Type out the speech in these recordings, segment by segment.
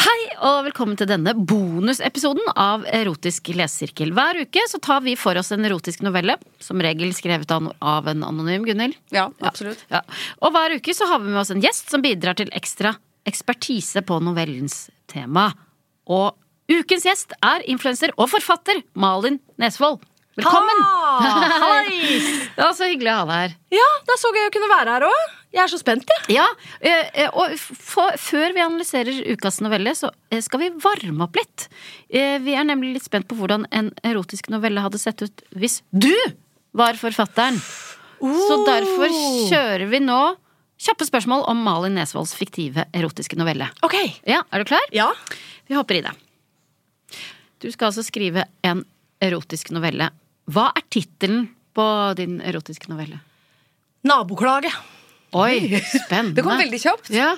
Hei og velkommen til denne bonusepisoden av Erotisk lesesirkel. Hver uke så tar vi for oss en erotisk novelle, som regel skrevet av av en anonym Gunhild. Ja, absolutt. Ja. Og hver uke så har vi med oss en gjest som bidrar til ekstra ekspertise på novellens tema. Og ukens gjest er influenser og forfatter Malin Nesvold. Velkommen! Ah, Det var så hyggelig å ha deg her. Ja, det er så gøy å kunne være her òg. Jeg er så spent, jeg. Ja, eh, eh, og f- for, Før vi analyserer ukas novelle, så eh, skal vi varme opp litt. Eh, Vi er nemlig litt spent på hvordan en erotisk novelle hadde sett ut hvis du var forfatteren. Så Oh! derfor kjører vi nå kjappe spørsmål om Malin Nesvolds fiktive erotiske novelle. Ok. Ja, Er du klar? Ja. Vi hopper i det. Du skal altså skrive en erotisk novelle. Hva er tittelen på din erotiske novelle? Naboklage. Oi, spennende. Det kom veldig kjapt. Ja,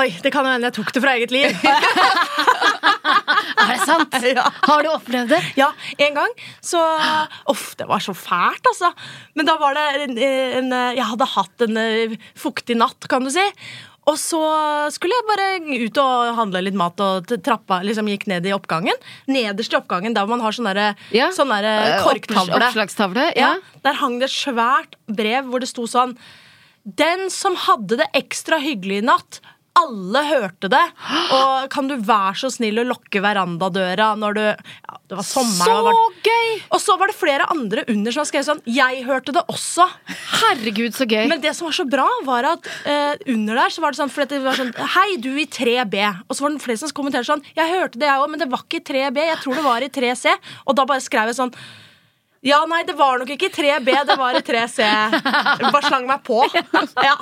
Oi, det kan jo hende jeg tok det fra eget liv. Er det sant? Ja. Har du opplevd det? Ja, en gang så Uff, det var så fælt, altså. Men da var det en, en Jeg hadde hatt en eh, fuktig natt, kan du si. Og så skulle jeg bare ut og handle litt mat, og t- trappa liksom gikk ned i oppgangen. Nederst i oppgangen, der man har sånn derre Ja. sånn derre Eh, korktavle. opps- oppslagstavle, ja. Der hang det et svært brev hvor det sto sånn Den som hadde det ekstra hyggelig i natt. Alle hørte det. Og kan du være så snill å lokke verandadøra når du ja, Det var sommeren. og det var- gøy! og så var det flere andre under som skrev sånn Jeg hørte det også. Herregud, så gøy. Men det som var så bra, var at eh, under der så var det sånn, for det var sånn Hei, du i 3B. Og så var det flere som kommenterte sånn Jeg hørte det, jeg òg, men det var ikke i 3B. Jeg tror det var i 3C. Og da bare skrev jeg sånn ja, nei, det var nok ikke i 3B, det var i 3C. Jeg bare slang meg på. Ja.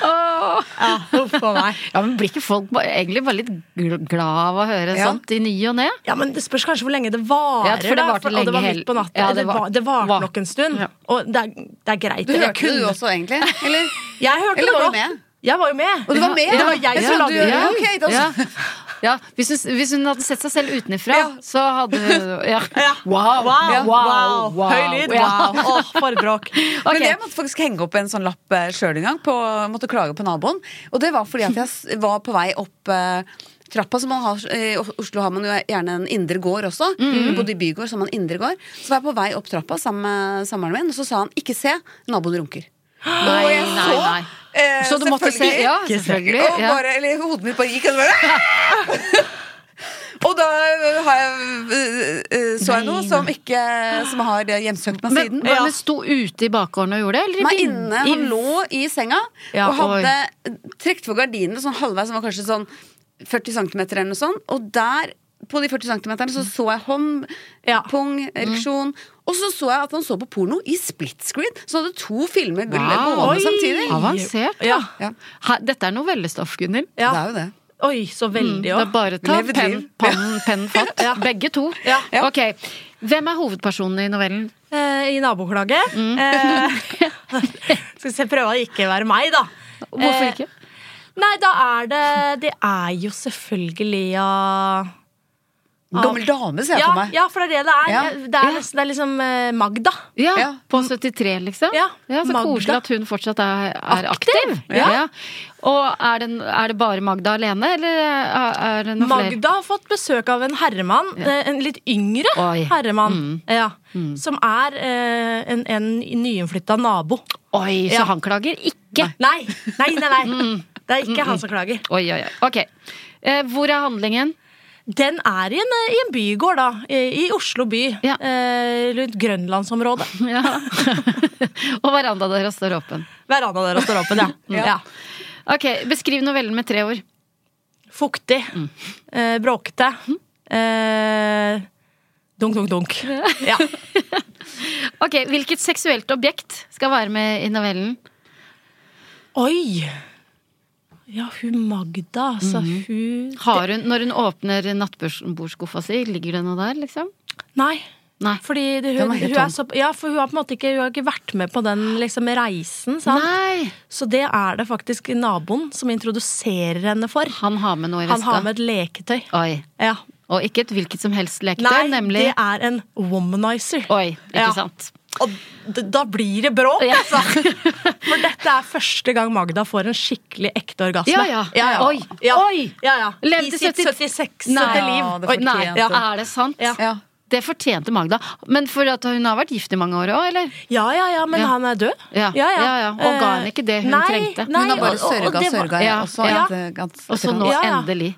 ja Huff a meg. ja, men Blir ikke folk ba- egentlig bare litt gl- glad av å høre Ja. sånt i ny og ne? Ja, men Det spørs kanskje hvor lenge det varer. Ja, for det da, varte og det lenge var hel- midt på natta. Ja, det det, var- var, det varte var- nok en stund. Ja. Og det er, det er greit. Du Jeg hørte det kunne- du også, egentlig? Eller? Jeg hørte det Eller var du også. med? Jeg var jo med. Og du var med? Det var jeg Jeg som trodde lagde det. du- Ja, ok, da- ja. Ja, hvis, hun, hvis hun hadde sett seg selv utenfra, så hadde hun ja. Ja. Wow! Wow, wow, Høy lyd, Ja. wow. Åh, for et bråk. Ok. Men jeg måtte faktisk henge opp en sånn lapp sjøl en gang. På, måtte klage på naboen. Og det var fordi at jeg s- var på vei opp eh, trappa. Så man har, I Oslo har man jo gjerne en indre gård også. Mm. Jeg bodde i bygård, så har man indre gård. Så var jeg på vei opp trappa sammen med samboeren min, og så sa han 'ikke se, naboen runker'. Nei, og jeg nei, så, nei. eh, Så du måtte se? selvfølgelig- Ja, selvfølgelig. Og Ja. bare, eller hodet mitt bare gikk, og så bare Og da har jeg, øh, øh, så jeg Nei, noe som, ikke, som har eh, hjemsøkt meg Men, siden. men sto ute i bakgården og gjorde det? Eller Nei, i inne, Han lå i senga Ja, og hadde trukket for gardinene sånn halvveis, som var kanskje sånn 40 cm eller noe sånt. Og der, på de 40 cm, så så jeg hånd, Ja. pung, Mm. ereksjon. Og så så jeg at han så på porno i split screen. Så han hadde to filmer gull- Wow. gående Oi. samtidig. Avansert, da. Ja. Ja. Her, dette er novellestoff, Gunhild. Ja. Det er jo det. Oi, så Mm. veldig Det er òg. bare ta Lev et penn, liv. pann, penn, fatt. Ja. Begge to. Ja. Ja. Ok. Hvem er hovedpersonen i novellen? I naboklaget. Mm. Eh, skal vi se, prøve å ikke være meg, da. Hvorfor Eh, ikke? Nei, da er det Det er jo selvfølgelig ja Gammel dame, ser jeg ja, for meg. ja, for det er det det er. Ja. Jeg- Det er, det er liksom eh, Magda. Ja, Ja. På 73, liksom? Ja, Så Magda. koselig at hun fortsatt er, er aktiv. ja. Og er det, er det bare Magda alene, eller er er det noen flere? Magda har fått besøk av en herremann, eh, en litt yngre Oi. Mm. herremann, ja, som er eh, en, en nyinnflytta nabo. Oi, så Ja. han klager ikke! Mm. Nei, nei, nei. nei. Det er ikke han som klager. Oi, oi, oi. Ok. Eh, hvor er handlingen? Den er i en, eh, i en bygård, da. I, i Oslo by. Ja. Eh, rundt Grønlandsområdet. Ja. Og verandaen deres står åpen. Veranda der og står åpen, ja. Mm. ja. Ok, Beskriv novellen med tre ord. Fuktig. Mm. Eh, bråkete. Eh, dunk, dunk, dunk. Ja. Ok, Hvilket seksuelt objekt skal være med i novellen? Oi! Ja, hun Magda, altså. Mm-hmm. Hun Har hun, Når hun åpner nattbordskuffa si, ligger det noe der? liksom? Nei. Nei. Fordi det, hun, Den var helt hun er tom. så, ja, for hun har på en måte ikke, hun har ikke vært med på den liksom, reisen. Sant? Nei! Så det er det faktisk naboen som introduserer henne for. Han har med noe i veska. Han har med et leketøy. Oi. Ja. Og ikke et hvilket som helst leketøy, Nei, nemlig det er en womanizer. Oi, ikke Ja. sant? Og d- da blir det bråk, Ja. altså! For dette er første gang Magda får en skikkelig ekte orgasme. Ja, ja. Oi. Ja. Oi. Ja, ja. Levde I sitt 70 76. Nei. liv. Ja, det Oi, fortjente Nei, ja. er det sant? Ja. Ja. Det fortjente Magda. Men for at hun har vært gift i mange år òg, eller? ja, ja, ja, men Ja. han er død. Ja. Ja, ja. Og ga henne Eh, ikke det hun nei, trengte. Hun Nei, Hun har bare og- og- og sørga og det var- sørga, jeg ja, også. eh, ja. et ganske- Og så nå, Ja, ja. endelig.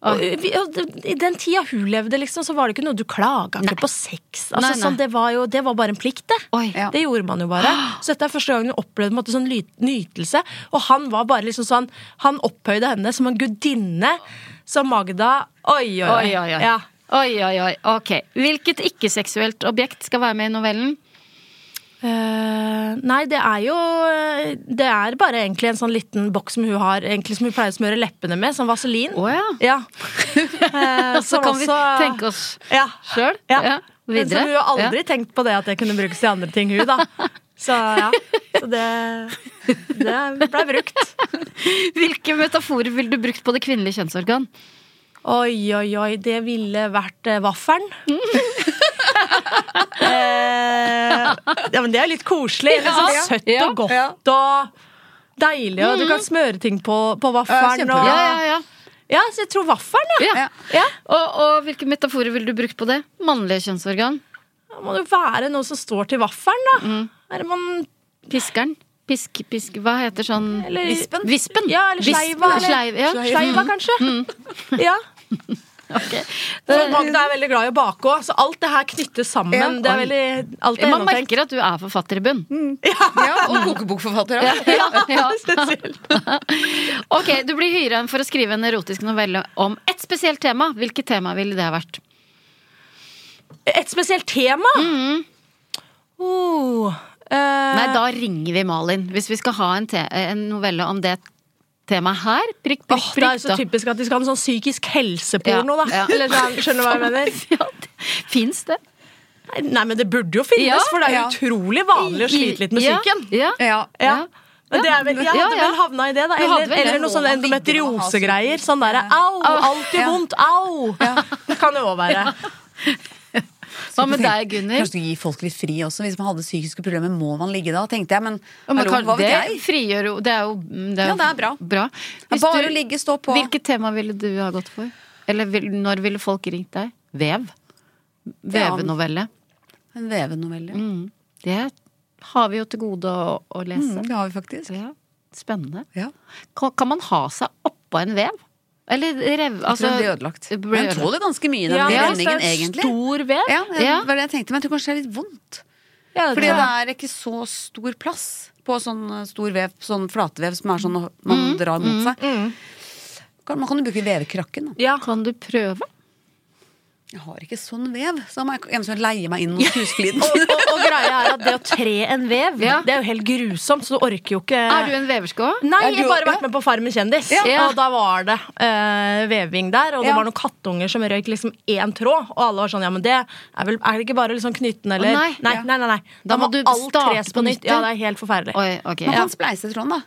Og, vi- og, det- I den tida hun levde, liksom, så var det ikke noe du klaga ikke på sex. Altså, Nei, nei. Sånn, det, var jo, det var bare en plikt, det. Oi. Ja. Det gjorde man jo bare. Så dette er første gangen hun opplevde på en måte, sånn ly- nytelse. Og han var bare liksom sånn Han opphøyde henne som en gudinne. Så Magda Oi, oi, Oi, oi, oi. Ja. Oi, oi, oi. Ok. Hvilket ikke-seksuelt objekt skal være med i novellen? Eh, nei, det er jo eh, Det er bare egentlig en sånn liten boks som hun har egentlig som hun pleier å smøre leppene med, sånn vaselin. Å ja. Ja. Eh, Så som kan vi også- tenke oss ja. sjøl. Ja. Men så Videre. hun har aldri tenkt på det at det kunne brukes til andre ting, hun, da. Så ja. Så det, det blei brukt. Ja. Hvilke metaforer ville du brukt på det kvinnelige kjønnsorgan? Oi, oi, oi. Det ville vært eh, vaffelen. eh, ja, men det er litt koselig. Liksom, Ja. Søtt Ja. Mhm. og godt og deilig, og du kan smøre ting på, på Ja, vaffelen. kjempebra. og, Ja, ja, ja. ja, så jeg tror vaffelen, ja. ja. Ja. ja. Og, og hvilke metaforer ville du brukt på det mannlige kjønnsorgan? Da må det jo være noe som står til vaffelen, da. Mhm. Er det man Piskeren? Pisk, pisk, hva heter sånn Eller- Vispen? Vispen. Ja, eller Vispen. sleiva, eller- Sleiv, ja. Mhm. Sleiva, kanskje? Ja. Så Magda er veldig glad i å bake òg, så alt det her knyttes sammen. Ja. det er veldig, alt er Man gjennomtenkt. merker at du er forfatter i bunn. Ja, og kokebokforfatter òg. Ja, ja. Spesielt. Ok, Du blir hyra inn for å skrive en erotisk novelle om ett spesielt tema. Hvilket tema ville det ha vært? Et spesielt tema. Oh, eh, Nei, da ringer vi Malin. Hvis vi skal ha en, te en novelle om det temaet her. Prikk, prikk, åh, det er prikk. så typisk at de skal ha en sånn psykisk helseporno, Ja, da. ja. Eller, sånn, skjønner du hva jeg mener? Ja, det- Fins det? Nei, Nei, men det burde jo finnes, Ja, for det er jo ja. utrolig vanlig å slite litt med Ja, psyken. Ja, Ja. Ja. Ja. Men det er vel, jeg Ja, hadde ja. vel havna i det, da. Du hadde Eller, vel det. eller noe sånn Må man videre og ha endometriosegreier. Sånn derre Ja. au, alltid vondt, au! Det kan jo òg være. Hva med deg, Gunnhild? Kanskje gi folk litt fri også. Hvis man hadde psykiske problemer, må man ligge da, tenkte jeg. Men, Ja, men hallo, kan- hva vet det jeg? frigjør jo Det er jo det er, Ja, det er bra. Hvis Bare du- ligge, stå på. Hvilket tema ville du ha gått for? Eller vil, når ville folk ringt deg? Vev. Vevenovelle. En vevenovelle. Mm. Det har vi jo til gode å, å lese. Mm, det har vi faktisk. Ja. Spennende. Ja. Kan, kan man ha seg oppå en vev? Eller rev... Jeg tror Altså, den blir ødelagt. det blir Men Den ødelagt. tåler ganske mye, den Ja, ja, men hvis det renningen, er egentlig. stor vev Ja, det Ja. var det jeg tenkte, men jeg tror kanskje det er litt vondt. ja, Fordi det er ikke så stor plass på sånn eh, stor vev, sånn flatvev som er sånn man Mm. drar mot seg. Kan- Man kan jo bruke vevkrakken, da. ja. Kan du prøve? Jeg har ikke sånn vev, så da må jeg eventuelt leie meg inn mot husfliden. Og, og, og greia er at det å tre en vev, Ja. det er jo helt grusomt, så du orker jo Eh. ikke Er du en veverske òg? Nei, Er du jeg har bare også- vært med på Farmen kjendis, Ja. og da var det eh, veving der. Og det Ja. var noen kattunger som røyk liksom én tråd, og alle var sånn Ja, men det er vel Er det ikke bare liksom knytten, eller? nei. nei, Ja. nei, nei, nei. Da må du alt starte tres på nytt, Ja, ja. det er helt forferdelig. Oi, ok. Man Ja. kan spleise tråden, da.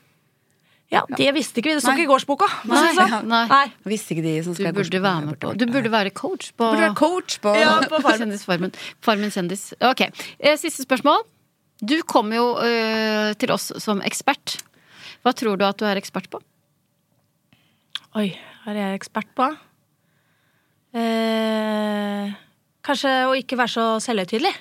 Ja, det visste ikke vi. Det sto Nei. ikke i gårdsboka. for å si det sånn. Nei. Nei. Visste ikke de som Du skal burde være med på Du burde være coach på Burde være coach på Ja, på Farmen. Kjendisfarmen. Farmen kjendis. Ok, eh, Siste spørsmål. Du kom jo eh, til oss som ekspert. Hva tror du at du er ekspert på? Oi, hva er jeg ekspert på? Eh, kanskje å ikke være så selvhøytidelig.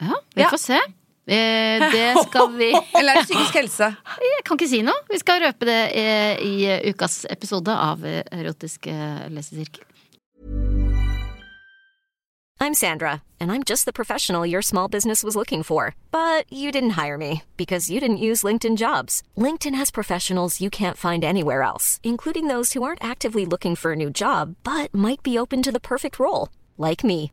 Ja, Vi Ja. får se. Eh, det skal vi Jeg Eller er det psykisk helse? kan ikke si noe. Vi skal røpe det eh, i ukas episode av eh, Erotisk eh, lesesirkel. I'm Sandra, and I'm just the professional your small business was looking for. But you didn't hire me because you didn't use LinkedIn jobs. LinkedIn has professionals you can't find anywhere else, including those who aren't actively looking for a new job but might be open to the perfect role, like me.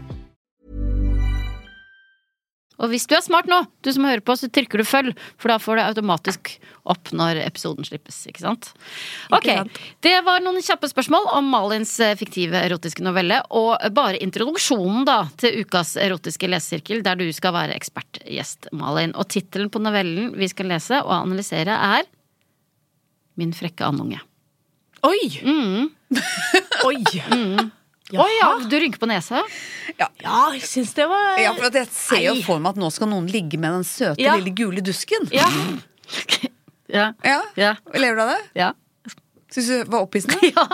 Og hvis du er smart nå, du som hører på, så trykker du følg, for da får du automatisk opp når episoden slippes, ikke sant? Ok, sant. det var noen kjappe spørsmål om Malins eh, fiktive erotiske novelle, og bare introduksjonen da til ukas erotiske lesesirkel, der du skal være ekspertgjest, Malin. Og tittelen på novellen vi skal lese og analysere er Min frekke andunge. Oi! Mm. Oi. Oi, ja. Ah, Du rynker på nesa. ja, jeg syns det var Ja, for at jeg ser jo Nei. for meg at nå skal noen ligge med den søte, Ja. lille gule dusken. Ja. Ja. Ja. Ja. Lever du av det? ja. Syns du det var opphissende? Ja.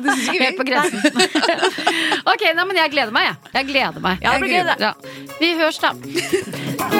Det syns ikke Helt på vi. grensen. ok, nei, men jeg gleder meg, jeg. Jeg gleder meg. Ja, jeg Jeg gleder Ja. Vi høres, da.